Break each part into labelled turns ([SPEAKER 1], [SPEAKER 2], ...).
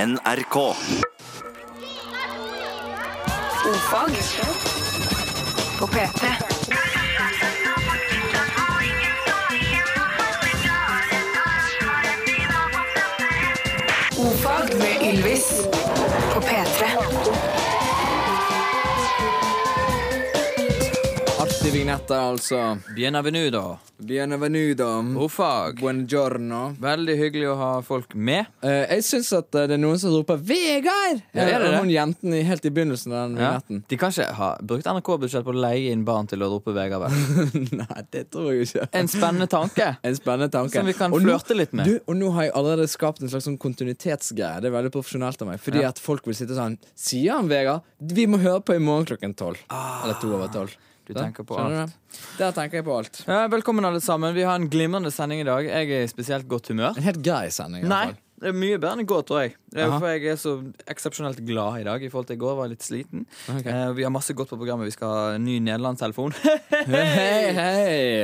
[SPEAKER 1] NRK.
[SPEAKER 2] Ofag på P3. Ofag med Ylvis på P3.
[SPEAKER 3] Artig vignett der, altså.
[SPEAKER 4] Bienvenudo.
[SPEAKER 3] Bienvenudo.
[SPEAKER 4] Ofag.
[SPEAKER 3] Buongiorno.
[SPEAKER 4] Veldig hyggelig å ha folk med.
[SPEAKER 3] Eh, jeg syns at eh, det er noen som roper 'Vegard!' Eh,
[SPEAKER 4] Ja, er det det?
[SPEAKER 3] Hun jenten i- helt i begynnelsen av den
[SPEAKER 4] Ja.
[SPEAKER 3] vignetten.
[SPEAKER 4] De kan ikke ha brukt NRK-budsjett på å leie inn barn til å rope Vegard Vær.
[SPEAKER 3] Nei, det tror jeg ikke.
[SPEAKER 4] En spennende tanke.
[SPEAKER 3] En spennende tanke.
[SPEAKER 4] Som vi kan
[SPEAKER 3] Og nå-
[SPEAKER 4] flørte litt med.
[SPEAKER 3] Du, og nå har jeg allerede skapt en slags sånn kontinuitetsgreie. Det er veldig profesjonelt av meg. Fordi
[SPEAKER 4] Ja.
[SPEAKER 3] at folk vil sitte sånn Sier han Vegard? Vi må høre på i morgen klokken tolv. Eller to over tolv.
[SPEAKER 4] Ah, Du
[SPEAKER 3] Da,
[SPEAKER 4] tenker på
[SPEAKER 3] skjønner du det? Der tenker jeg på alt.
[SPEAKER 4] Ja, velkommen, alle sammen. Vi har en glimrende sending i dag. Jeg er i spesielt godt humør.
[SPEAKER 3] En helt grei sending. i hvert
[SPEAKER 4] Nei,
[SPEAKER 3] fall.
[SPEAKER 4] det er mye bedre enn i går, tror jeg. Det er
[SPEAKER 3] Aha.
[SPEAKER 4] For jeg er så eksepsjonelt glad i dag i forhold til i går. Var jeg litt sliten.
[SPEAKER 3] Ok.
[SPEAKER 4] Eh, vi har masse godt på programmet. Vi skal ha en ny nederlandstelefon.
[SPEAKER 3] Hei,
[SPEAKER 4] Det er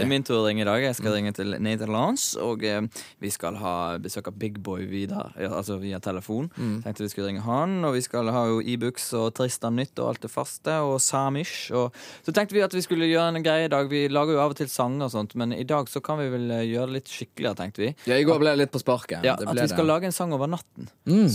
[SPEAKER 3] hei!
[SPEAKER 4] min tur å ringe i dag. Jeg skal ringe til Nederlands. Og eh, vi skal ha besøk av Big Boy Vidar, ja, altså via telefon.
[SPEAKER 3] Mm.
[SPEAKER 4] Tenkte vi skulle ringe han, og vi skal ha jo Ibux og Tristan Nytt og alt det faste. Og Samish. Og så tenkte vi at vi skulle gjøre en greie i dag. Vi lager jo av og til sanger og sånt, men i dag så kan vi vel eh, gjøre det litt skikkeligere, tenkte vi.
[SPEAKER 3] Ja, I går ble jeg litt på sparket.
[SPEAKER 4] Ja,
[SPEAKER 3] Det
[SPEAKER 4] At
[SPEAKER 3] ble
[SPEAKER 4] vi skal
[SPEAKER 3] det. Mm.
[SPEAKER 4] lage en sang over natten.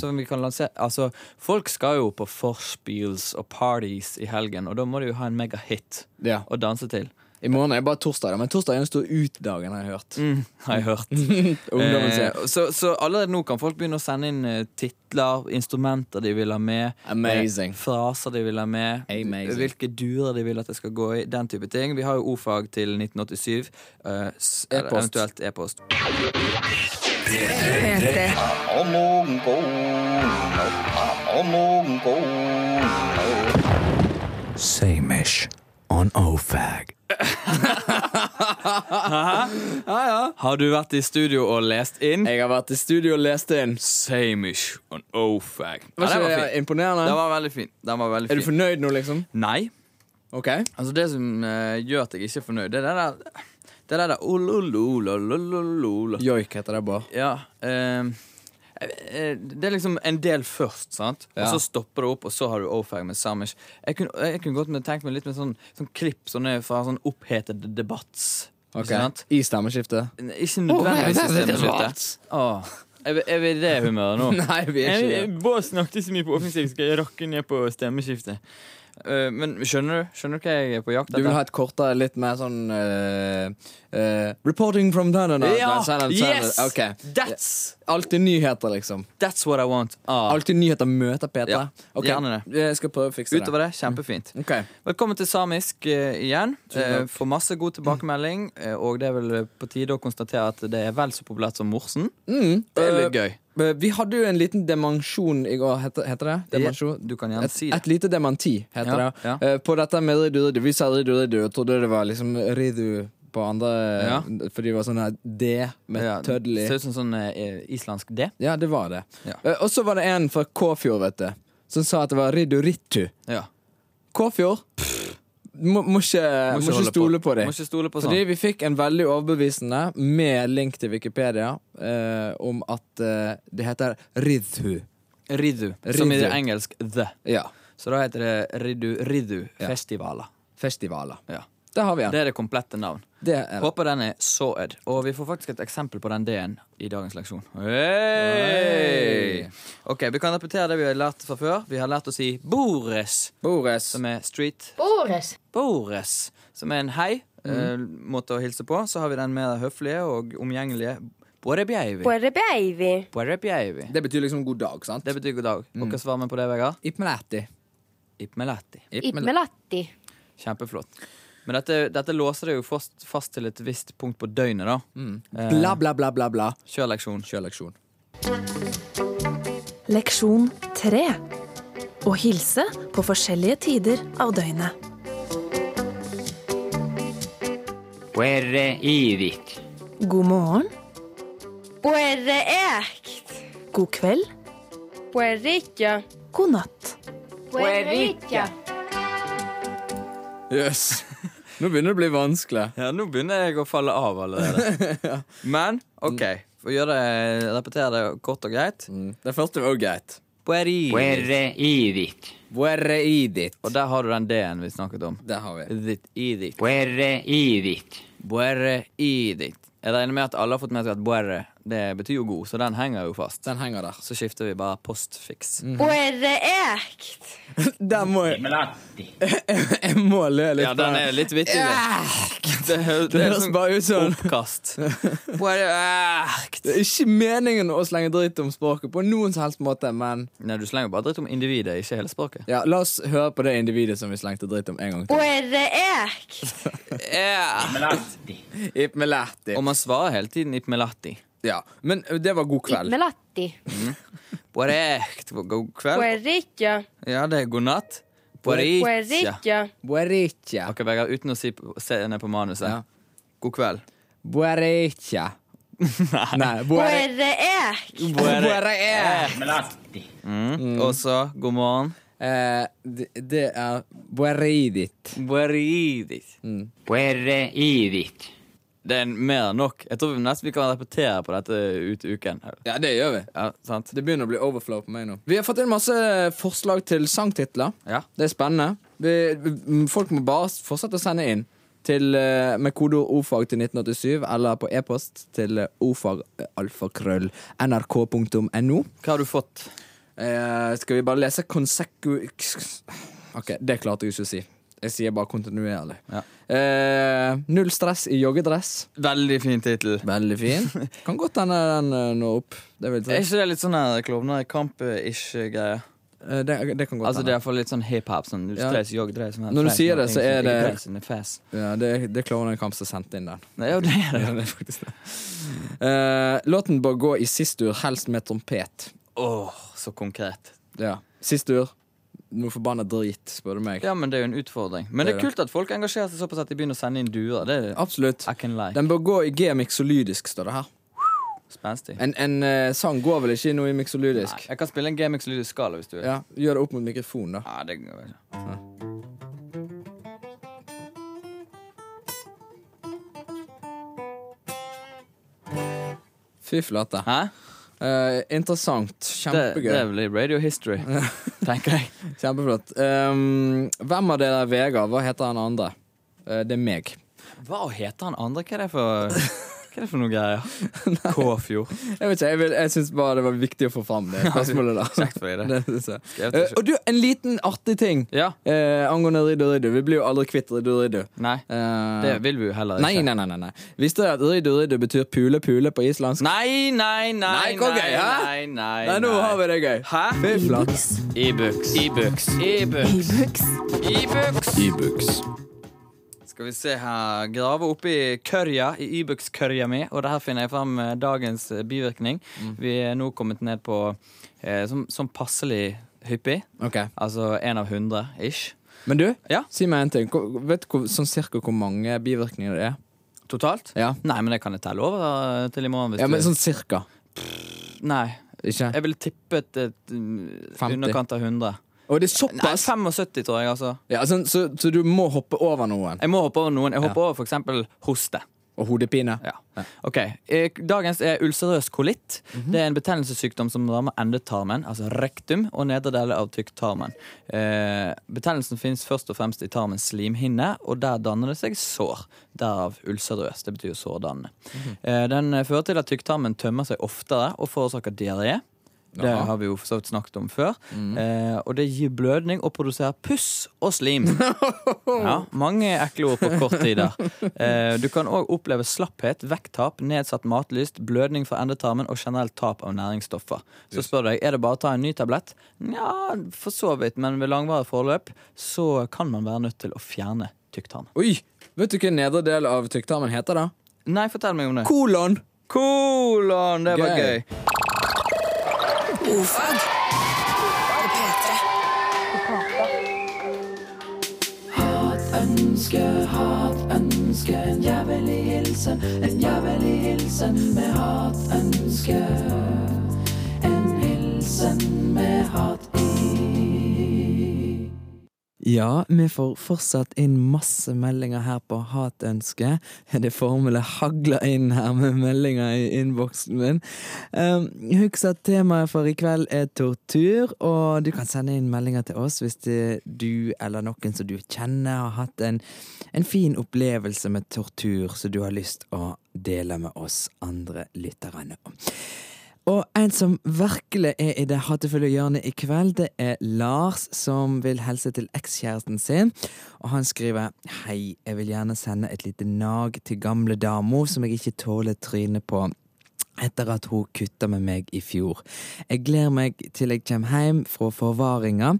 [SPEAKER 4] Som vi kan lansere Altså, Folk skal jo på vorspiels og parties i helgen, og da må de jo ha en megahit
[SPEAKER 3] Ja.
[SPEAKER 4] å danse til.
[SPEAKER 3] I morgen er bare torsdag, da, men torsdag er den store ut-dagen, har jeg hørt.
[SPEAKER 4] Mm, har jeg hørt.
[SPEAKER 3] Ungdommen sier
[SPEAKER 4] Eh, så, så allerede nå kan folk begynne å sende inn eh, titler, instrumenter de vil ha med,
[SPEAKER 3] Amazing.
[SPEAKER 4] eh, fraser de vil ha med,
[SPEAKER 3] Amazing.
[SPEAKER 4] hvilke durer de vil at det skal gå i, den type ting. Vi har jo ordfag til 1987. eh, s- eller
[SPEAKER 3] E-post.
[SPEAKER 4] Eventuelt e-post.
[SPEAKER 2] P3.
[SPEAKER 5] Samish on OFAG.
[SPEAKER 4] Har du vært i studio og lest inn?
[SPEAKER 3] Jeg har vært i studio og lest inn.
[SPEAKER 4] Samish on ofag.
[SPEAKER 3] Var
[SPEAKER 4] den
[SPEAKER 3] ikke
[SPEAKER 4] var
[SPEAKER 3] det
[SPEAKER 4] fin.
[SPEAKER 3] imponerende?
[SPEAKER 4] Den var veldig fin. Den var veldig
[SPEAKER 3] Er du
[SPEAKER 4] fin.
[SPEAKER 3] fornøyd nå, liksom?
[SPEAKER 4] Nei.
[SPEAKER 3] Ok.
[SPEAKER 4] Altså Det som eh, gjør at jeg ikke er fornøyd, det er det der Det er det der ololololololol.
[SPEAKER 3] Joik heter det bare.
[SPEAKER 4] Ja. ehm, eh, det er liksom en del først, sant?
[SPEAKER 3] Ja.
[SPEAKER 4] Og så stopper det opp, og så har du ofag med samish. Jeg kunne, jeg kunne godt med, tenkt meg litt med sånn, sånn klipp sånne fra sånn opphetede debatts.
[SPEAKER 3] Ok.
[SPEAKER 4] Ikke sant?
[SPEAKER 3] I stemmeskiftet.
[SPEAKER 4] Ikke nødvendigvis
[SPEAKER 3] Åh,
[SPEAKER 4] i
[SPEAKER 3] det er
[SPEAKER 4] stemmeskiftet.
[SPEAKER 3] debatt.
[SPEAKER 4] Åh, Er vi- er vi i det humøret nå?
[SPEAKER 3] Nei, vi er ikke det.
[SPEAKER 4] Bård snakket så mye på offensiv, skal jeg rakke ned på stemmeskiftet. Eh, men skjønner du Skjønner du hva jeg er på jakt
[SPEAKER 3] Du vil ha et kortere, litt mer sånn eh, eh, Reporting from da da da.
[SPEAKER 4] Ja!
[SPEAKER 3] Sånn, sånn, sånn.
[SPEAKER 4] Yes!
[SPEAKER 3] Ok.
[SPEAKER 4] That's,
[SPEAKER 3] Alltid nyheter, liksom.
[SPEAKER 4] that's what I want. Ah.
[SPEAKER 3] Alltid nyheter møter Peter.
[SPEAKER 4] Ja,
[SPEAKER 3] Ok,
[SPEAKER 4] gjerne det.
[SPEAKER 3] Jeg skal prøve å fikse
[SPEAKER 4] Utover det, kjempefint.
[SPEAKER 3] det. Ok.
[SPEAKER 4] Velkommen til samisk eh, igjen.
[SPEAKER 3] takk.
[SPEAKER 4] Eh, får masse god tilbakemelding, eh, og det er vel på tide å konstatere at det er vel så populært som Morsen.
[SPEAKER 3] Mm.
[SPEAKER 4] Det er
[SPEAKER 3] Eh,
[SPEAKER 4] litt gøy.
[SPEAKER 3] Eh, Vi hadde jo en liten demensjon i går, heter, heter det? Demensjon?
[SPEAKER 4] Du kan gjerne
[SPEAKER 3] et,
[SPEAKER 4] si det.
[SPEAKER 3] Et lite dementi, heter
[SPEAKER 4] Ja,
[SPEAKER 3] det.
[SPEAKER 4] ja.
[SPEAKER 3] Eh, På dette med ridu, ridu. Vi sa ridu, ridu, og trodde det var liksom ridu på andre,
[SPEAKER 4] Ja.
[SPEAKER 3] fordi det var sånn her D med
[SPEAKER 4] Ja,
[SPEAKER 3] tøddelig.
[SPEAKER 4] Ser ut som sånn eh, islandsk D.
[SPEAKER 3] Ja, det var det.
[SPEAKER 4] Ja.
[SPEAKER 3] Eh, Og så var det en fra Kåfjord, vet du, som sa at det var ridu ritu.
[SPEAKER 4] Ja.
[SPEAKER 3] Kåfjord? Må, må ikke, må ikke,
[SPEAKER 4] holde
[SPEAKER 3] stole på,
[SPEAKER 4] Eh, Må
[SPEAKER 3] dem.
[SPEAKER 4] ikke stole på sånn.
[SPEAKER 3] Fordi vi fikk en veldig overbevisende med link til Wikipedia eh, om at eh, det heter ridhu.
[SPEAKER 4] sånn Riddu, som i
[SPEAKER 3] Riddu.
[SPEAKER 4] det engelsk the.
[SPEAKER 3] Ja.
[SPEAKER 4] Så da heter det Riddu Riddu
[SPEAKER 3] Ja.
[SPEAKER 4] Festivaler.
[SPEAKER 3] festivaler.
[SPEAKER 4] Ja.
[SPEAKER 3] Der har vi den.
[SPEAKER 4] Det er det komplette navn.
[SPEAKER 3] Det er det.
[SPEAKER 4] Håper den er såed. Og vi får faktisk et eksempel på den D-en i dagens leksjon. Hey! Ok, Vi kan repetere det vi har lært fra før. Vi har lært å si Bores,
[SPEAKER 3] Bores.
[SPEAKER 4] som er street.
[SPEAKER 6] Boris.
[SPEAKER 4] Bores, som er en hei. eh, måte å hilse på. Så har vi den mer høflige og omgjengelige. Borebjeivi.
[SPEAKER 7] Bare baby.
[SPEAKER 4] Borebjeivi.
[SPEAKER 3] Det betyr liksom god dag, sant?
[SPEAKER 4] Det betyr god dag. Og hva svarer vi på det, Vegard?
[SPEAKER 3] Ipmelati.
[SPEAKER 4] Ipmelati.
[SPEAKER 6] Ipmelatti.
[SPEAKER 4] Kjempeflott. Men dette, dette låser det jo fast, fast til et visst punkt på døgnet, da. Eh,
[SPEAKER 3] Bla, bla, bla, bla, bla.
[SPEAKER 4] Kjør leksjon.
[SPEAKER 3] Kjørleksjon.
[SPEAKER 8] Leksjon 3. Å hilse på forskjellige tider av døgnet.
[SPEAKER 9] Puerre Ivik.
[SPEAKER 8] God morgen,
[SPEAKER 7] Bare ekt.
[SPEAKER 8] god kveld,
[SPEAKER 7] Bare ikke.
[SPEAKER 8] god natt.
[SPEAKER 6] Puerica.
[SPEAKER 3] Jøss. Nå begynner det å bli vanskelig.
[SPEAKER 4] Ja, nå begynner jeg å falle av allerede. Men OK. For å gjøre det, repetere det kort og greit.
[SPEAKER 3] Mm. Det første var jo greit. Pueri.
[SPEAKER 9] Puerre ivit.
[SPEAKER 3] Puerre idit.
[SPEAKER 4] Og der har du den D-en vi snakket om.
[SPEAKER 3] Det har vi.
[SPEAKER 4] Ditt, i ditt.
[SPEAKER 9] Puerre ivit.
[SPEAKER 4] Buerre i ditt. Jeg regner med at alle har fått med seg at buerre det betyr jo god, så den henger jo fast.
[SPEAKER 3] Den henger Mm. der.
[SPEAKER 4] Så skifter vi bare postfiks.
[SPEAKER 7] Puerreekt.
[SPEAKER 3] Der må jeg
[SPEAKER 9] Melatti.
[SPEAKER 3] Jeg må le litt.
[SPEAKER 4] Ja, den er litt vittig. Det, det, hø- det
[SPEAKER 3] Det
[SPEAKER 4] er
[SPEAKER 3] høres
[SPEAKER 4] sånn
[SPEAKER 3] bare ut som
[SPEAKER 4] oppkast. Buerreekt.
[SPEAKER 3] Det er ikke meningen å slenge dritt om språket på noen som helst måte, men
[SPEAKER 4] Nei, du slenger bare dritt om individet, ikke hele språket.
[SPEAKER 3] ja, la oss høre på det individet som vi slengte dritt om en gang til.
[SPEAKER 7] Puerreekt.
[SPEAKER 9] Melatti.
[SPEAKER 3] Ipmelati.
[SPEAKER 4] Og man svarer hele tiden ipmelatti.
[SPEAKER 3] Ja. Men det var god kveld.
[SPEAKER 6] Melatti.
[SPEAKER 4] Buerreekt. God kveld.
[SPEAKER 7] Puerrikja.
[SPEAKER 4] Ja, det er god natt. Buerritia.
[SPEAKER 7] Puerrikja.
[SPEAKER 3] Buericha.
[SPEAKER 4] Ok, Vegard, uten å si, se ned på manuset.
[SPEAKER 3] Ja.
[SPEAKER 4] God kveld.
[SPEAKER 3] Buericha. Nei. buere-
[SPEAKER 7] Puerreekt.
[SPEAKER 3] Buere-
[SPEAKER 9] Melatti.
[SPEAKER 4] Mm. Og så god morgen.
[SPEAKER 3] Eh, det- Det er bueridit.
[SPEAKER 4] Bueridit.
[SPEAKER 3] Mm.
[SPEAKER 9] Puerre ivit.
[SPEAKER 4] Det er mer enn nok. Jeg tror vi nesten vi kan repetere på dette ut uken.
[SPEAKER 3] Ja, det gjør vi.
[SPEAKER 4] Ja, sant?
[SPEAKER 3] Det begynner å bli overflow på meg nå. Vi har fått inn masse forslag til sangtitler.
[SPEAKER 4] Ja.
[SPEAKER 3] Det er spennende. Vi, vi- folk må bare s- fortsette å sende inn til, eh, med kodeord ordfag til 1987 eller på e-post til eh, ordfagalfakrøll.nrk.no.
[SPEAKER 4] Hva har du fått?
[SPEAKER 3] Eh, skal vi bare lese konseku... Ok, det klarte jeg ikke å si. Jeg sier bare kontinuerlig.
[SPEAKER 4] Ja.
[SPEAKER 3] Eh, null stress i joggedress.
[SPEAKER 4] Veldig fin tittel.
[SPEAKER 3] Veldig fin. Kan godt hende den eh, når opp. Det, vil
[SPEAKER 4] Er
[SPEAKER 3] jeg si.
[SPEAKER 4] ikke det litt sånn her klovner-kamp-ish-greie?
[SPEAKER 3] Eh, det, det kan godt
[SPEAKER 4] Altså Det er
[SPEAKER 3] hende.
[SPEAKER 4] iallfall litt sånn hiphop. Sånn,
[SPEAKER 3] Ja.
[SPEAKER 4] stress, jogg, dress, sånn her.
[SPEAKER 3] Når du
[SPEAKER 4] Stress,
[SPEAKER 3] sier det,
[SPEAKER 4] nothing,
[SPEAKER 3] så er
[SPEAKER 4] nothing,
[SPEAKER 3] det-
[SPEAKER 4] dress in the fast.
[SPEAKER 3] Ja, det, det klarer den kamp som sendte inn den.
[SPEAKER 4] Nei, jo, det er det.
[SPEAKER 3] Ja, det er faktisk det. Eh, låten bør gå i siste ur, helst med trompet.
[SPEAKER 4] Åh, så konkret.
[SPEAKER 3] Ja. Siste ur. Noe forbanna drit, spør du meg.
[SPEAKER 4] Ja, men Det er jo en utfordring. Men det
[SPEAKER 3] Det
[SPEAKER 4] er
[SPEAKER 3] er
[SPEAKER 4] kult at folk engasjerer seg såpass at de begynner å sende inn duer. Det er
[SPEAKER 3] Absolutt.
[SPEAKER 4] I can lie.
[SPEAKER 3] Den bør gå i G-mixolydisk, står det her.
[SPEAKER 4] Spenstig.
[SPEAKER 3] En, en eh, sang går vel ikke i noe i
[SPEAKER 4] Nei,
[SPEAKER 3] mixolydisk?
[SPEAKER 4] jeg kan spille en Gamix lyd i skala hvis du vil.
[SPEAKER 3] Ja, Gjør det opp mot mikrofonen, da.
[SPEAKER 4] Ja, det går ikke.
[SPEAKER 3] Fy flate.
[SPEAKER 4] Hæ?
[SPEAKER 3] Eh, interessant.
[SPEAKER 4] Det,
[SPEAKER 3] Kjempegøy.
[SPEAKER 4] det blir radio history, tenker jeg.
[SPEAKER 3] Kjempeflott. Um, hvem av dere er Vegard? Hva heter han andre? Eh, det er meg.
[SPEAKER 4] Hva heter han andre? Hva er det for, hva er det for noe greier? Kåfjord.
[SPEAKER 3] Jeg vet ikke, jeg, vil- jeg syns bare det var viktig å få fram det spørsmålet der.
[SPEAKER 4] Kjekt for deg, det.
[SPEAKER 3] Det synes jeg.
[SPEAKER 4] Skrev til
[SPEAKER 3] Eh, og du, en liten artig ting
[SPEAKER 4] Ja.
[SPEAKER 3] eh, angående Riddu Riddu. Vi blir jo aldri kvitt Riddu Riddu.
[SPEAKER 4] Nei.
[SPEAKER 3] Eh,
[SPEAKER 4] Det vil vi jo heller
[SPEAKER 3] nei,
[SPEAKER 4] ikke.
[SPEAKER 3] nei, nei, nei, nei. Visste dere at Riddu Riddu betyr pule pule på islandsk?
[SPEAKER 4] Nei, nei, nei,
[SPEAKER 3] Nei, konge,
[SPEAKER 4] nei,
[SPEAKER 3] hæ?
[SPEAKER 4] nei, nei,
[SPEAKER 3] Nei, nå har vi det gøy.
[SPEAKER 4] Hæ?
[SPEAKER 3] Fy flate.
[SPEAKER 4] E-books. E-books. E-books.
[SPEAKER 8] Ibux.
[SPEAKER 4] E-books. Skal vi se her. Grave oppi kørja, i e-books-kørja mi, og der finner jeg fram eh, dagens eh, bivirkning. Vi er nå kommet ned på eh, som, som passelig hyppig.
[SPEAKER 3] Ok,
[SPEAKER 4] Altså én av hundre ish.
[SPEAKER 3] Men du,
[SPEAKER 4] Ja.
[SPEAKER 3] si meg en ting. Hvor- Vet du hvor- sånn cirka hvor mange bivirkninger det er?
[SPEAKER 4] Totalt?
[SPEAKER 3] Ja,
[SPEAKER 4] Nei, men det kan jeg telle over eh, til i morgen. Hvis
[SPEAKER 3] ja men
[SPEAKER 4] du...
[SPEAKER 3] sånn cirka.
[SPEAKER 4] Nei.
[SPEAKER 3] Ikke?
[SPEAKER 4] Jeg ville tippet et, mm,
[SPEAKER 3] 50.
[SPEAKER 4] underkant av 100.
[SPEAKER 3] Og det er
[SPEAKER 4] Nei,
[SPEAKER 3] såpass!
[SPEAKER 4] 75, tror jeg. altså
[SPEAKER 3] Ja, sånn, så, så du må hoppe over noen.
[SPEAKER 4] Jeg må hoppe over noen. Jeg hopper over for eksempel hoste.
[SPEAKER 3] Og hodepine.
[SPEAKER 4] Ja. Ok, eh, Dagens er ulcerøs kolitt. Det er en betennelsessykdom som rammer endetarmen, altså rektum, og nedre deler av tykktarmen. Eh, betennelsen finnes først og fremst i tarmens slimhinne, og der danner det seg sår. Derav ulcerøs. Det betyr jo sårdannende. eh, den eh, fører til at tykktarmen tømmer seg oftere og forårsaker diaré. Det
[SPEAKER 3] Jaha.
[SPEAKER 4] har vi jo for så vidt snakket om før. Eh, og det gir blødning og produserer puss og slim. Ja, mange ekle ord på kort tid der. Eh, du kan òg oppleve slapphet, vekttap, nedsatt matlyst, blødning fra endetarmen og generelt tap av næringsstoffer. Så spør du deg, er det bare å ta en ny tablett? Nja, for så vidt, men ved langvarig forløp så kan man være nødt til å fjerne tykktarmen.
[SPEAKER 3] Oi! Vet du hva nedre del av tykktarmen heter, da?
[SPEAKER 4] Nei, fortell meg om det.
[SPEAKER 3] Kolon!
[SPEAKER 4] Kolon! Det var
[SPEAKER 3] Gøy.
[SPEAKER 4] gøy.
[SPEAKER 2] Ordfag på P3.
[SPEAKER 3] Ja, vi får fortsatt inn masse meldinger her på Hatønsket. Det formelet hagler inn her med meldinger i innboksen min. Um, Husk at temaet for i kveld er tortur, og du kan sende inn meldinger til oss hvis det, du eller noen som du kjenner har hatt en, en fin opplevelse med tortur som du har lyst å dele med oss andre lytterne om. Og en som virkelig er i det hatefulle hjørnet i kveld, det er Lars, som vil hilse til ekskjæresten sin. Og han skriver Hei, jeg vil gjerne sende et lite nag til gamle dama som jeg ikke tåler trynet på. Etter at hun kutta med meg i fjor. Jeg gleder meg til jeg kommer hjem fra forvaringa.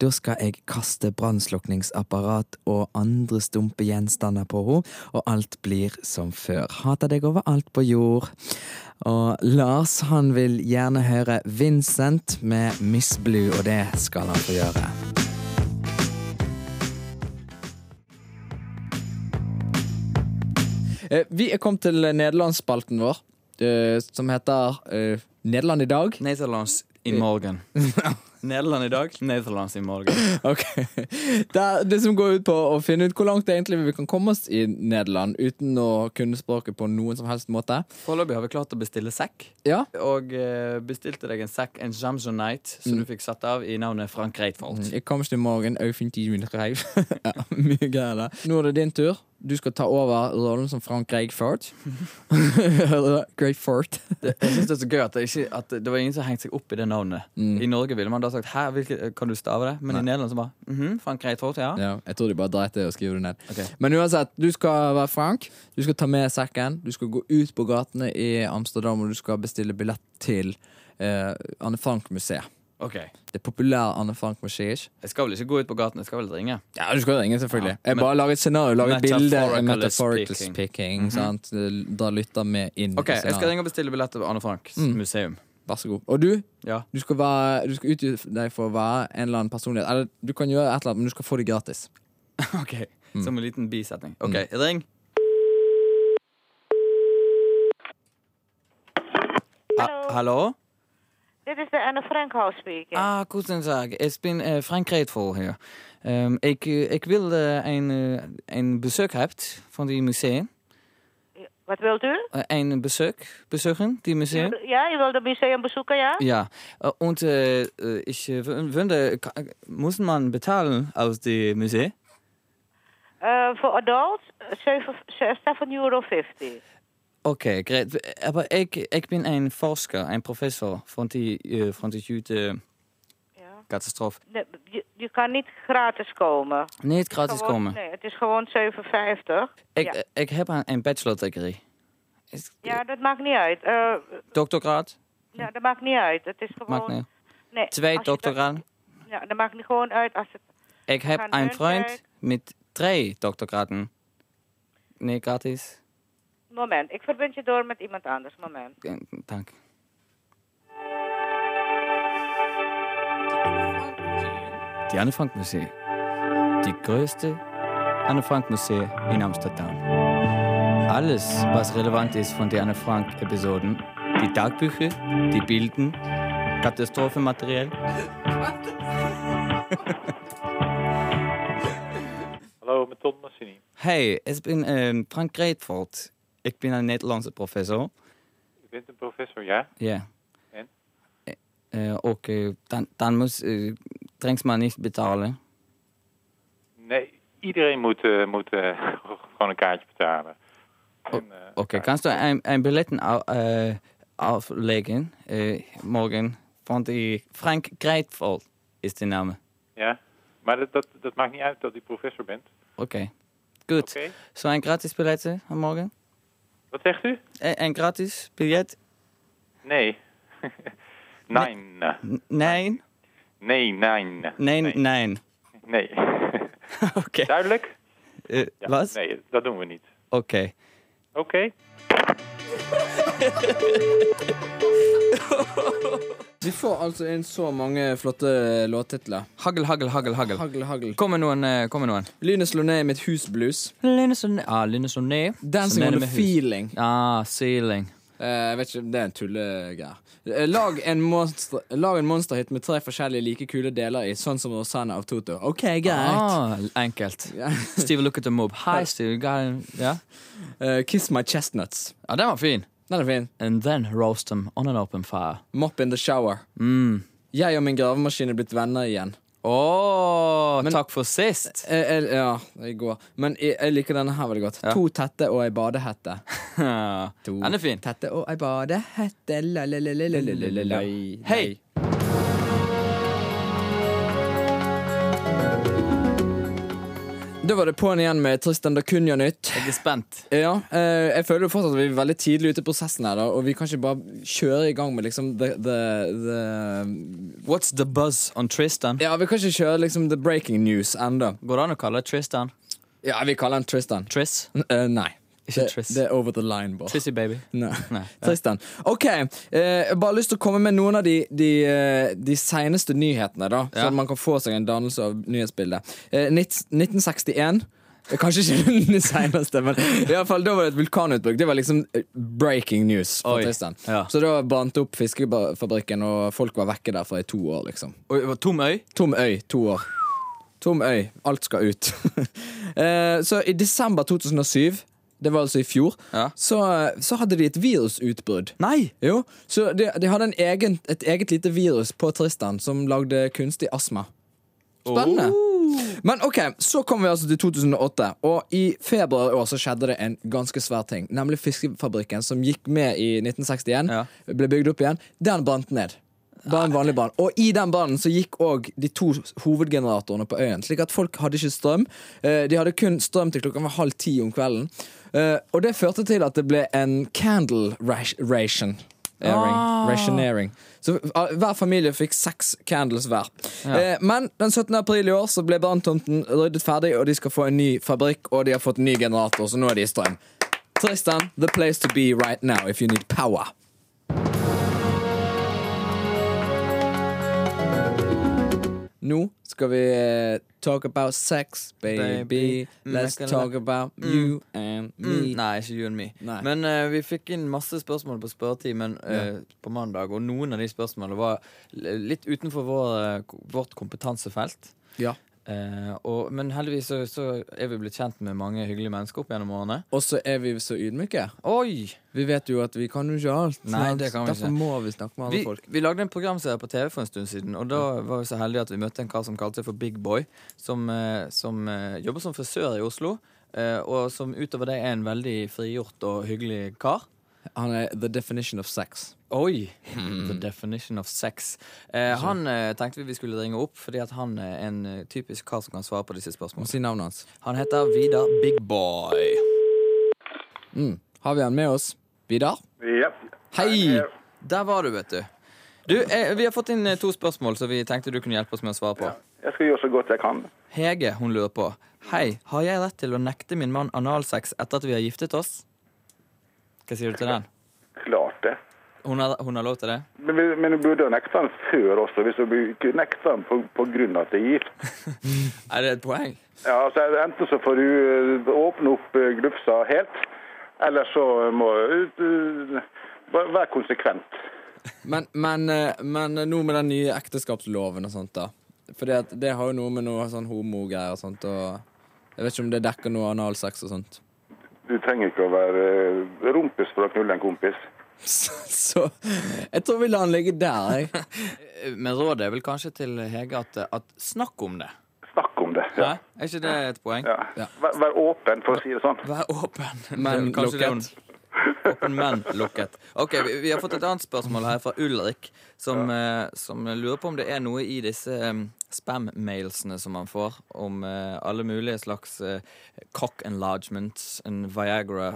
[SPEAKER 3] Da skal jeg kaste brannslukningsapparat og andre stumpe gjenstander på henne, og alt blir som før. Hater deg overalt på jord. Og Lars han vil gjerne høre Vincent med Miss Blue, og det skal han få gjøre. Eh, Vi er kommet til nederlandsspalten vår, eh, som heter eh, Nederland i dag.
[SPEAKER 4] Nederlands i morgen. Nederland i dag, Nederlands i morgen.
[SPEAKER 3] Ok. Det, er det som går ut på å finne ut hvor langt det egentlig vi kan komme oss i Nederland uten å kunne språket på noen som helst måte.
[SPEAKER 4] Foreløpig har vi klart å bestille sekk.
[SPEAKER 3] Ja,
[SPEAKER 4] Og eh, bestilte deg en sekk, en Jamsonite, som du fikk satt av i navnet Frank Reitvold.
[SPEAKER 3] Jeg kommer ikke i morgen, jeg finner ti minutter hjem. ja, mye greier der. Nå er det din tur. Du skal ta over rollen som Frank Greigfort. Greigfort.
[SPEAKER 4] Jeg synes det er så gøy at det, ikke, at det var ingen som hengte seg opp i det navnet. I Norge ville man da sagt Hæ, hvilke, kan du stave det? Men i Nederland så bare mhm, Frank Reitvold, ja.
[SPEAKER 3] Ja, jeg tror de bare dreit i å skrive det ned.
[SPEAKER 4] Ok.
[SPEAKER 3] Men uansett, du skal være Frank. Du skal ta med sekken. Du skal gå ut på gatene i Amsterdam, og du skal bestille billett til eh, Anne Frank-museet.
[SPEAKER 4] OK.
[SPEAKER 3] Det populære Anne Frank-museet.
[SPEAKER 4] Jeg skal vel ikke gå ut på gaten, jeg skal vel ringe?
[SPEAKER 3] Ja, du skal ringe, selvfølgelig.
[SPEAKER 4] Ja,
[SPEAKER 3] jeg
[SPEAKER 4] men-
[SPEAKER 3] bare lager et scenario, lager et bilde.
[SPEAKER 4] Metaphorically
[SPEAKER 3] Metaphorical speaking.
[SPEAKER 4] speaking.
[SPEAKER 3] sant? Da lytter vi inn. i
[SPEAKER 4] OK, jeg skal
[SPEAKER 3] scenarioet.
[SPEAKER 4] ringe og bestille billett til Anne Franks museum.
[SPEAKER 3] Vær så god. Og du,
[SPEAKER 4] Ja.
[SPEAKER 3] du skal, være, du skal utgi deg for å være en eller annen personlighet. Eller du kan gjøre et eller annet, men du skal få det gratis.
[SPEAKER 4] OK. Som en liten bisetning. OK, ring. Ha- Hallo?
[SPEAKER 1] Dit is de Anne Frank House speaking.
[SPEAKER 4] Ah, goedendag. Ik ben eh, Frank Reetvol hier. Ehm, ik, eh, ik wil eh, een, eh, een bezoek hebt van die museum.
[SPEAKER 1] Wat wilt u?
[SPEAKER 4] Eh, een bezoek, bezoeken, die museum.
[SPEAKER 1] Ja, je wilt het museum bezoeken, ja?
[SPEAKER 4] Ja, Eh, und äh, äh, ich äh, wün- wünde, ka- muss man betalen aus dem Museum?
[SPEAKER 1] Eh, voor adults, eh, zeven- ze- 7,50 euro.
[SPEAKER 4] Okay, great. Aber ich, ich bin ein Forsker, ein Professor von die, äh, von die Jute
[SPEAKER 1] Ja.
[SPEAKER 4] Katastrophe.
[SPEAKER 1] Nee, je, je kan niet gratis komen.
[SPEAKER 4] Nicht gratis
[SPEAKER 1] Gewoon-
[SPEAKER 4] kommen.
[SPEAKER 1] Nee, het is gewoon 7,50.
[SPEAKER 4] Ich,
[SPEAKER 1] Ja.
[SPEAKER 4] ich habe ein, ein Bachelor-Degree. Ist-
[SPEAKER 1] Ja, dat maakt niet uit. Eh,
[SPEAKER 4] Doktorgrad?
[SPEAKER 1] ja, dat maakt niet uit. Het is gewoon...
[SPEAKER 4] Mag nicht.
[SPEAKER 1] Nee,
[SPEAKER 4] Twee
[SPEAKER 1] als je dat-
[SPEAKER 4] Doktorgraden?
[SPEAKER 1] Ja, dat maakt niet gewoon uit als het...
[SPEAKER 4] Ik heb
[SPEAKER 1] Gaan
[SPEAKER 4] een
[SPEAKER 1] hun
[SPEAKER 4] vriend
[SPEAKER 1] werk.
[SPEAKER 4] met drie doctorgraden. Nee, gratis.
[SPEAKER 1] Moment, ik verbind je door met iemand anders. Moment.
[SPEAKER 4] Eh, Dank. Die Anne Frank Museum. Die größte Anne Frank Museum in Amsterdam. Alles, was relevant ist von den Anne Frank Episoden, die Tagbücher, die Bilden, Katastrophenmaterial.
[SPEAKER 10] Hallo, met Ton Massini.
[SPEAKER 4] Hey, ich bin ähm, Frank Greetvold. Ich bin ein niederländischer Professor.
[SPEAKER 10] U bent een professor, ja?
[SPEAKER 4] Ja.
[SPEAKER 10] En?
[SPEAKER 4] Eh, och eh, dan, dan muss, eh, trängs man nicht betalen.
[SPEAKER 10] Nee, iedereen moet, eh, moet eh, gewoon een kaartje betalen. En, eh,
[SPEAKER 4] Okej,
[SPEAKER 10] ja,
[SPEAKER 4] kannst du ein, ein Billetten au, eh, auflegen eh, morgen von die Frank Greitvold ist der Name.
[SPEAKER 10] Ja, maar dat, dat, dat maakt niet uit dat u professor bent.
[SPEAKER 4] Okay. Gut.
[SPEAKER 10] Oké.
[SPEAKER 4] So ein gratis Billett am Morgen?
[SPEAKER 10] Wat zegt u?
[SPEAKER 4] Eh, ein gratis Billett?
[SPEAKER 10] Nee. nein.
[SPEAKER 4] N- Nein,
[SPEAKER 10] Nee, nein.
[SPEAKER 4] nein, nein.
[SPEAKER 10] Nee.
[SPEAKER 4] Okay.
[SPEAKER 10] Duidelijk?
[SPEAKER 4] Eh,
[SPEAKER 10] Ja,
[SPEAKER 4] was?
[SPEAKER 10] Nee, dat doen we niet.
[SPEAKER 4] Okay.
[SPEAKER 10] Oké.
[SPEAKER 3] Vi får altså inn så mange flotte låttitler.
[SPEAKER 4] Hagel, hagel, hagel, hagel.
[SPEAKER 3] Hagl, hagl.
[SPEAKER 4] Kommer noen, eh, kommer noen.
[SPEAKER 3] Lynet slår ned i mitt hus blues.
[SPEAKER 4] Lynet som ned. Ah, lynet som ned.
[SPEAKER 3] Dancing
[SPEAKER 4] Som
[SPEAKER 3] on
[SPEAKER 4] nede
[SPEAKER 3] the
[SPEAKER 4] med hus.
[SPEAKER 3] feeling.
[SPEAKER 4] Ah, ceiling.
[SPEAKER 3] Eh, Eh, jeg vet ikke, Det er en tullegreie. Eh, Lag en, monster, lag en monsterhit med tre forskjellige like kule deler i, sånn som Rosanna av Toto. OK, greit.
[SPEAKER 4] Ah, enkelt. Steve Look at the Mob. Hi, Steve. Guy. Ja.
[SPEAKER 3] Eh, kiss My Chestnuts.
[SPEAKER 4] Ja, den var fin.
[SPEAKER 3] Den er fin.
[SPEAKER 4] And then roast them on an open fire.
[SPEAKER 3] Mop in the shower.
[SPEAKER 4] Mm.
[SPEAKER 3] Jeg og min gravemaskin er blitt venner igjen.
[SPEAKER 4] Åh, takk for sist.
[SPEAKER 3] Eh, eh, ja, i går. Men jeg, jeg liker denne her veldig godt. To tette og ei badehette. To
[SPEAKER 4] Den er fin.
[SPEAKER 3] tette og ei badehette la, la, la, la, la, la, la, la.
[SPEAKER 4] Hei!
[SPEAKER 3] Da var det på'n igjen med Tristan da kun gjør nytt.
[SPEAKER 4] Jeg er spent.
[SPEAKER 3] Ja, eh, jeg føler jo fortsatt at vi er veldig tidlig ute i prosessen her, da, og vi kan ikke bare kjøre i gang med liksom the, the, the
[SPEAKER 4] What's the buzz on Tristan?
[SPEAKER 3] Ja, vi kan ikke kjøre liksom the breaking news enda
[SPEAKER 4] Går det an å kalle det Tristan?
[SPEAKER 3] Ja, vi kaller den Tristan.
[SPEAKER 4] Triss?
[SPEAKER 3] N- eh, nei.
[SPEAKER 4] Ikke
[SPEAKER 3] Det-
[SPEAKER 4] Triss.
[SPEAKER 3] Det er over the line, Bård.
[SPEAKER 4] Trissy baby.
[SPEAKER 3] Nei.
[SPEAKER 4] Nei.
[SPEAKER 3] Tristan. OK. eh, Jeg har bare lyst til å komme med noen av de, de, eh, de seneste nyhetene, da.
[SPEAKER 4] Ja.
[SPEAKER 3] Så at man kan få seg en dannelse av nyhetsbildet. Eh, nitt- 1961. Eh, Kanskje ikke den seneste, men i alle fall, da var det et vulkanutbrudd. Det var liksom eh, breaking news for
[SPEAKER 4] Oi.
[SPEAKER 3] Tristan.
[SPEAKER 4] Ja.
[SPEAKER 3] Så da brant det opp fiskefabrikken, og folk var vekke derfra i to år, liksom.
[SPEAKER 4] Oi, det var Tom øy?
[SPEAKER 3] Tom øy, to år. Tom øy, alt skal ut. Eh, så i desember 2007, det var altså i fjor,
[SPEAKER 4] Ja.
[SPEAKER 3] så, så hadde de et virusutbrudd.
[SPEAKER 4] Nei!
[SPEAKER 3] Jo, så de, de hadde en egen, et eget lite virus på Tristan som lagde kunstig astma. Spennende. Men ok, så kom vi altså til 2008, og i februar i år så skjedde det en ganske svær ting. Nemlig fiskefabrikken som gikk med i 1961,
[SPEAKER 4] Ja.
[SPEAKER 3] ble bygd opp igjen. Den brant ned. Bare en vanlig brann. Og i den brannen så gikk òg de to hovedgeneratorene på øyen. Slik at folk hadde ikke strøm. Eh, De hadde kun strøm til klokka var halv ti om kvelden. Eh, Og det førte til at det ble en candle rash- ration. Airing, Rationering. Så ah, hver familie fikk seks candles hver. Eh, men den 17. april i år så ble branntomten ryddet ferdig, og de skal få en ny fabrikk, og de har fått en ny generator, så nå er de i strøm. Tristan, the place to be right now if you need power. Nå skal vi eh, talk about sex, baby.
[SPEAKER 4] Baby.
[SPEAKER 3] Let's
[SPEAKER 4] Mm.
[SPEAKER 3] talk about you and me.
[SPEAKER 4] Mm, nei, ikke you and me.
[SPEAKER 3] Nei.
[SPEAKER 4] Men eh, vi fikk inn masse spørsmål på spørretimen eh, på mandag, og noen av de spørsmålene var l- litt utenfor vår, eh, k- vårt kompetansefelt.
[SPEAKER 3] Ja.
[SPEAKER 4] Eh, og, men heldigvis så, så er vi blitt kjent med mange hyggelige mennesker opp gjennom årene.
[SPEAKER 3] Og så er vi så ydmyke.
[SPEAKER 4] Oi!
[SPEAKER 3] Vi vet jo at vi kan jo ikke alt.
[SPEAKER 4] Nei,
[SPEAKER 3] sant?
[SPEAKER 4] det kan vi
[SPEAKER 3] Derfor
[SPEAKER 4] ikke.
[SPEAKER 3] må vi snakke med andre
[SPEAKER 4] Vi,
[SPEAKER 3] folk.
[SPEAKER 4] vi lagde en programserie på TV for en stund siden, og da var vi så heldige at vi møtte en kar som kalte seg for Big Boy, som, eh, som eh, jobber som frisør i Oslo, eh, og som utover det er en veldig frigjort og hyggelig kar.
[SPEAKER 3] Han er the definition of sex.
[SPEAKER 4] Oi!
[SPEAKER 3] Hmm.
[SPEAKER 4] The definition of sex. Eh, han eh, tenkte vi vi skulle ringe opp, fordi at han er en eh, typisk kar som kan svare på disse
[SPEAKER 3] Må
[SPEAKER 4] spørsmålene.
[SPEAKER 3] si navnet hans.
[SPEAKER 4] Han heter Vidar Big Boy.
[SPEAKER 3] Har vi han med oss? Vidar?
[SPEAKER 11] Ja.
[SPEAKER 3] Hei!
[SPEAKER 4] Der var du, vet du. Du, eh, Vi har fått inn eh, to spørsmål som vi tenkte du kunne hjelpe oss med å svare på.
[SPEAKER 12] Jeg skal gjøre så godt jeg kan.
[SPEAKER 4] Hege, hun lurer på Hei, har jeg rett til å nekte min mann analsex etter at vi har giftet oss? Hva sier du til den?
[SPEAKER 12] Klart det.
[SPEAKER 4] Hun har, hun har lov til det?
[SPEAKER 12] Men, vi- men du burde nekte den før også, hvis du ikke nekter den på, på grunn av at det er gift.
[SPEAKER 4] Er det et poeng?
[SPEAKER 12] Ja, altså, enten så får du eh, åpne opp eh, glufsa helt, eller så må du eh, være konsekvent.
[SPEAKER 3] Men, men, eh, men nå med den nye ekteskapsloven og sånt, da. For det har jo noe med noe sånn homogreier og sånt og Jeg vet ikke om det dekker noe analsex og sånt.
[SPEAKER 12] Du trenger ikke å være eh, rumpis for å knulle en kompis.
[SPEAKER 3] Så jeg tror vi lar han ligge der, jeg.
[SPEAKER 4] Eh, Men rådet er vel kanskje til Hege at, at snakk om det.
[SPEAKER 12] Snakk om det. Ja.
[SPEAKER 4] Nei? Er ikke det et poeng?
[SPEAKER 12] Ja. Vær, vær åpen, for å si det sånn.
[SPEAKER 4] Vær åpen.
[SPEAKER 3] Men
[SPEAKER 4] Det er kanskje det hun-
[SPEAKER 3] lukket.
[SPEAKER 4] Åpen, men lukket. Ok, vi, vi har fått et annet spørsmål her fra Ulrik, som, eh, som lurer på om det er noe i disse um, spam-mailsene som man får, om eh, alle mulige slags eh, cock enlargements and Viagra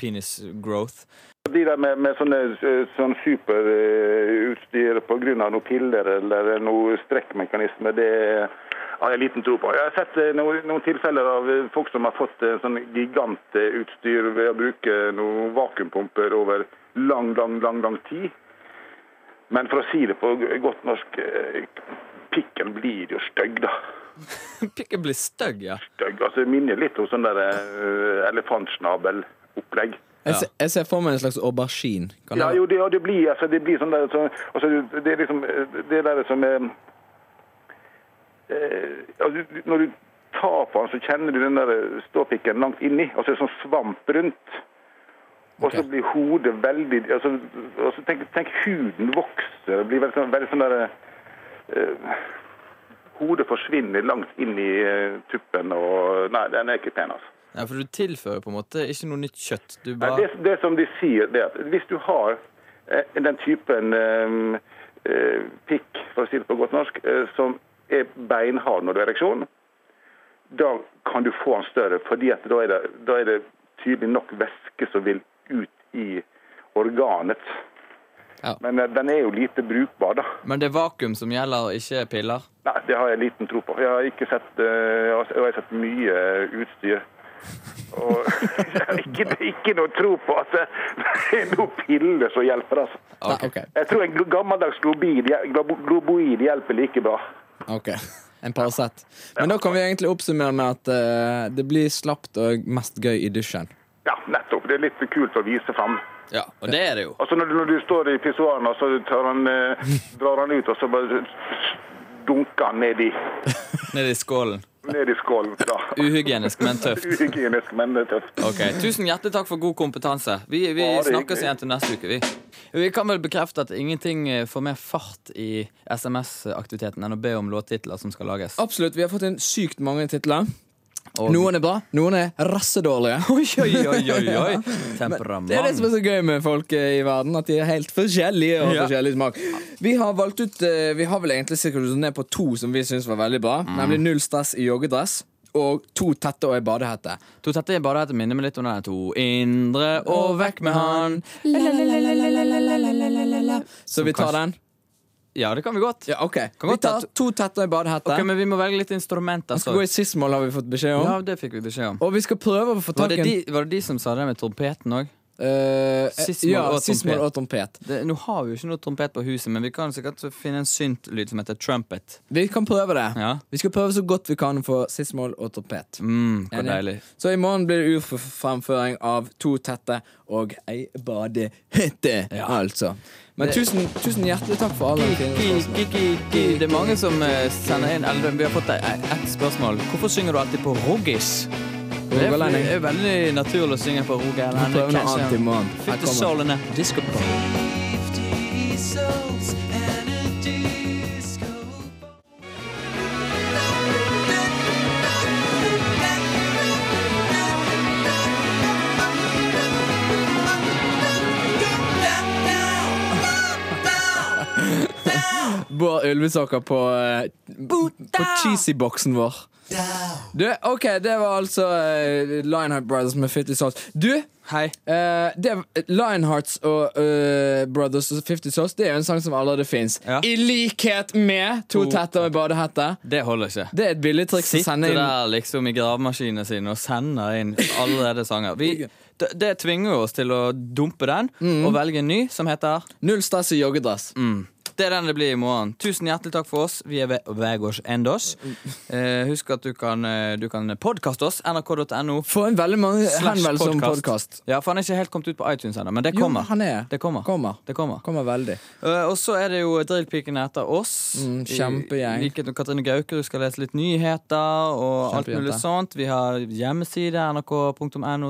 [SPEAKER 4] penis growth.
[SPEAKER 12] De der med, med sånne, eh, sånn eh, superutstyr pga. noen piller eller noe strekkmekanisme, det har jeg liten tro på. Jeg har sett eh, noen, noen tilfeller av eh, folk som har fått eh, sånn gigantutstyr ved å bruke noen vakuumpumper over lang, lang, lang, lang tid. Men for å si det på g- godt norsk eh, Pikken blir jo stygg, da.
[SPEAKER 4] Pikken blir stygg, ja.
[SPEAKER 12] Stygg. Altså, det minner litt om sånn der eh, elefantsnabelopplegg.
[SPEAKER 3] Jeg, ser, jeg ser for meg en slags aubergine. Kan
[SPEAKER 12] Ja,
[SPEAKER 3] det,
[SPEAKER 12] jo, det, ja, det blir altså, det blir sånn der så, altså, Det er liksom eh, det der som eh, eh, altså, du- Når du tar på den, så kjenner du den der ståpikken langt inni. Altså det er sånn svamp rundt. Og så blir hodet veldig altså, altså, tenk, tenk huden vokser. Det blir veldig, sånn- veldig sånn der eh, Hodet forsvinner langt inn i eh, tuppen og Nei, den er ikke pen, altså.
[SPEAKER 4] Ja, For du tilfører på en måte ikke noe nytt kjøtt. Du
[SPEAKER 12] Nei,
[SPEAKER 4] bare
[SPEAKER 12] det, det som de sier, det er at hvis du har eh, den typen eh, eh, pikk, for å si det på godt norsk, eh, som er beinhard når du har ereksjon, da kan du få den større, fordi at da er det, da er det tydelig nok væske som vil ut i organet. Men eh, den er jo lite brukbar, da.
[SPEAKER 4] Men det er vakuum som gjelder, og ikke piller.
[SPEAKER 12] Nei, det har jeg liten tro på. Jeg har ikke sett, eh, jeg har- jeg har sett mye utstyr. Og jeg har ikke, ikke noe tro på at det er noen piller som hjelper. Altså. Jeg tror en gl- gammeldags globoid, hjel- globo- globoid hjelper like bra.
[SPEAKER 3] Ok, en Paracet. Men da kan vi egentlig oppsummere med at eh, det blir slapt og mest gøy i dusjen.
[SPEAKER 12] Ja, nettopp. Det er litt kult å vise fram.
[SPEAKER 4] Ja, og det er det jo.
[SPEAKER 12] Altså når, du- når du står i pissoaren, og så tar han, eh, drar han ut, og så bare dunker han ned i,
[SPEAKER 4] Nede i skålen.
[SPEAKER 12] ned i skålen. Da.
[SPEAKER 4] Uhygienisk, men tøft.
[SPEAKER 12] Uhygienisk, men tøft.
[SPEAKER 4] Ok, Tusen hjertelig takk for god kompetanse. Vi, vi
[SPEAKER 12] Bare hyggelig.
[SPEAKER 4] snakkes igjen til neste uke. Vi. vi kan vel bekrefte at ingenting eh, får mer fart i SMS-aktiviteten enn å be om låttitler som skal lages.
[SPEAKER 3] Absolutt, Vi har fått inn sykt mange titler.
[SPEAKER 4] Og-
[SPEAKER 3] Noen er bra, noen er rassedårlige.
[SPEAKER 4] Oi, oi, oi, oi. Temperament.
[SPEAKER 3] Det er det som er så gøy med folk eh, i verden, at de er helt forskjellige og har
[SPEAKER 13] Ja.
[SPEAKER 3] forskjellig smak. Vi har valgt ut eh, Vi har vel egentlig sirkulert oss ned på to som vi syns var veldig bra,
[SPEAKER 4] Mm.
[SPEAKER 3] nemlig Null stress i joggedress og To tette og ei badehette.
[SPEAKER 4] To tette i badehette minner meg litt om den her to indre og vekk med han.
[SPEAKER 3] Så vi tar den?
[SPEAKER 4] Ja, det kan vi godt.
[SPEAKER 3] Ja, ok Vi tar to tette og ei badehette.
[SPEAKER 4] Ok, men vi må velge litt instrumenter.
[SPEAKER 3] Han skal gå i sismål, har vi fått beskjed om.
[SPEAKER 4] Ja, det fikk vi beskjed om.
[SPEAKER 3] Og vi skal prøve å få
[SPEAKER 4] Var
[SPEAKER 3] tak i
[SPEAKER 4] det
[SPEAKER 3] en
[SPEAKER 4] de, var det de som sa det med trompeten òg?
[SPEAKER 3] Eh,
[SPEAKER 4] Sismål
[SPEAKER 3] ja,
[SPEAKER 4] og
[SPEAKER 3] sismål
[SPEAKER 4] trompet.
[SPEAKER 3] og trompet.
[SPEAKER 4] Nå har vi jo ikke noe trompet på huset, men vi kan sikkert finne en syntlyd som heter trumpet.
[SPEAKER 3] Vi kan prøve det.
[SPEAKER 4] Ja.
[SPEAKER 3] Vi skal prøve så godt vi kan for sismål og trompet.
[SPEAKER 4] Mm, hvor
[SPEAKER 3] Enig?
[SPEAKER 4] deilig.
[SPEAKER 3] Så i morgen blir det urframføring av to tette og ei badehette, altså. Men
[SPEAKER 4] Det-
[SPEAKER 3] tusen, tusen hjertelig takk for alle.
[SPEAKER 4] Gi, gi, gi, gi. Det er mange som eh, sender inn eller Vi har fått eh, ett spørsmål. Hvorfor synger du alltid på roggis? Det er,
[SPEAKER 3] Rogalending.
[SPEAKER 4] det er veldig naturlig å synge på
[SPEAKER 3] Vi prøver noe annet i morgen.
[SPEAKER 4] rogalending.
[SPEAKER 3] Her kommer-
[SPEAKER 4] Fyttesålene. Diskopop.
[SPEAKER 3] Bård Ulvesaker på, eh, på cheesy-boksen vår. Du, OK, det var altså eh, Lionheart Brothers med Fifty Souls. Du!
[SPEAKER 4] Hei.
[SPEAKER 3] eh, det, Lionhearts og eh, Brothers og Fifty Souls Det er jo en sang som allerede fins. I likhet med To
[SPEAKER 4] To-
[SPEAKER 3] tetter med badehette.
[SPEAKER 4] Det holder ikke.
[SPEAKER 3] Det er et billig triks å
[SPEAKER 4] Sitter
[SPEAKER 3] sende inn.
[SPEAKER 4] der liksom i gravemaskinene sine og sender inn allerede sanger. Vi, det, Mm. det tvinger jo oss til å dumpe den og velge en ny som heter
[SPEAKER 3] Null stress i joggedress.
[SPEAKER 4] Mm. Det er den det blir i morgen. Tusen hjertelig takk for oss. Vi er ved Vegårs Endos. Eh, husk at du kan, eh, du kan podkaste oss. nrk.no.
[SPEAKER 3] Få en veldig mange
[SPEAKER 4] slash
[SPEAKER 3] henvendelser om podkast.
[SPEAKER 4] Ja, for han er ikke helt kommet ut på iTunes ennå, men det
[SPEAKER 3] Jo,
[SPEAKER 4] kommer.
[SPEAKER 3] han er.
[SPEAKER 4] Det kommer.
[SPEAKER 3] Kommer.
[SPEAKER 4] Det kommer.
[SPEAKER 3] Kommer veldig.
[SPEAKER 4] Eh, og så er det jo Drillpikene etter oss.
[SPEAKER 3] Mm, kjempegjeng.
[SPEAKER 4] I likhet med Katrine Gaukerud skal lese litt nyheter og alt
[SPEAKER 3] Kjempejente.
[SPEAKER 4] mulig sånt. Vi har hjemmeside nrk.no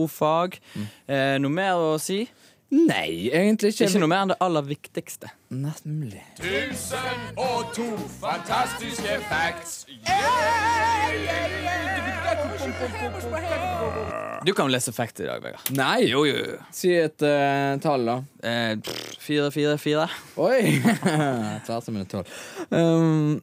[SPEAKER 4] ofag.
[SPEAKER 3] Mm.
[SPEAKER 4] Eh, noe mer å si?
[SPEAKER 3] Nei, egentlig ikke.
[SPEAKER 4] Ikke noe mer enn det aller viktigste.
[SPEAKER 3] Nemlig.
[SPEAKER 2] Tusen og to fantastiske facts.
[SPEAKER 4] Du kan jo lese fact i dag, Vegard.
[SPEAKER 3] Nei!
[SPEAKER 4] Jo, jo, jo.
[SPEAKER 3] Si et eh, tall, da.
[SPEAKER 4] Eh, pff, Fire, fire, fire.
[SPEAKER 3] Oi! Tvert som en tolv. Um,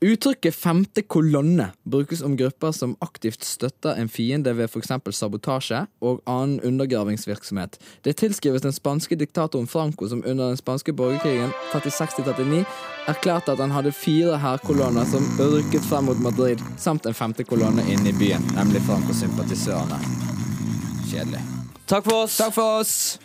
[SPEAKER 3] uttrykket 'femte kolonne' brukes om grupper som aktivt støtter en fiende ved f.eks. sabotasje og annen undergravingsvirksomhet. Det tilskrives den spanske diktatoren Franco, som under den spanske borgerkrigen 36-39 erklærte at han hadde fire hærkolonner som rykket frem mot Madrid, samt en femte kolonne inne i byen, nemlig Franco-sympatisørene. Kjedelig.
[SPEAKER 4] Takk for oss.
[SPEAKER 3] Takk for oss!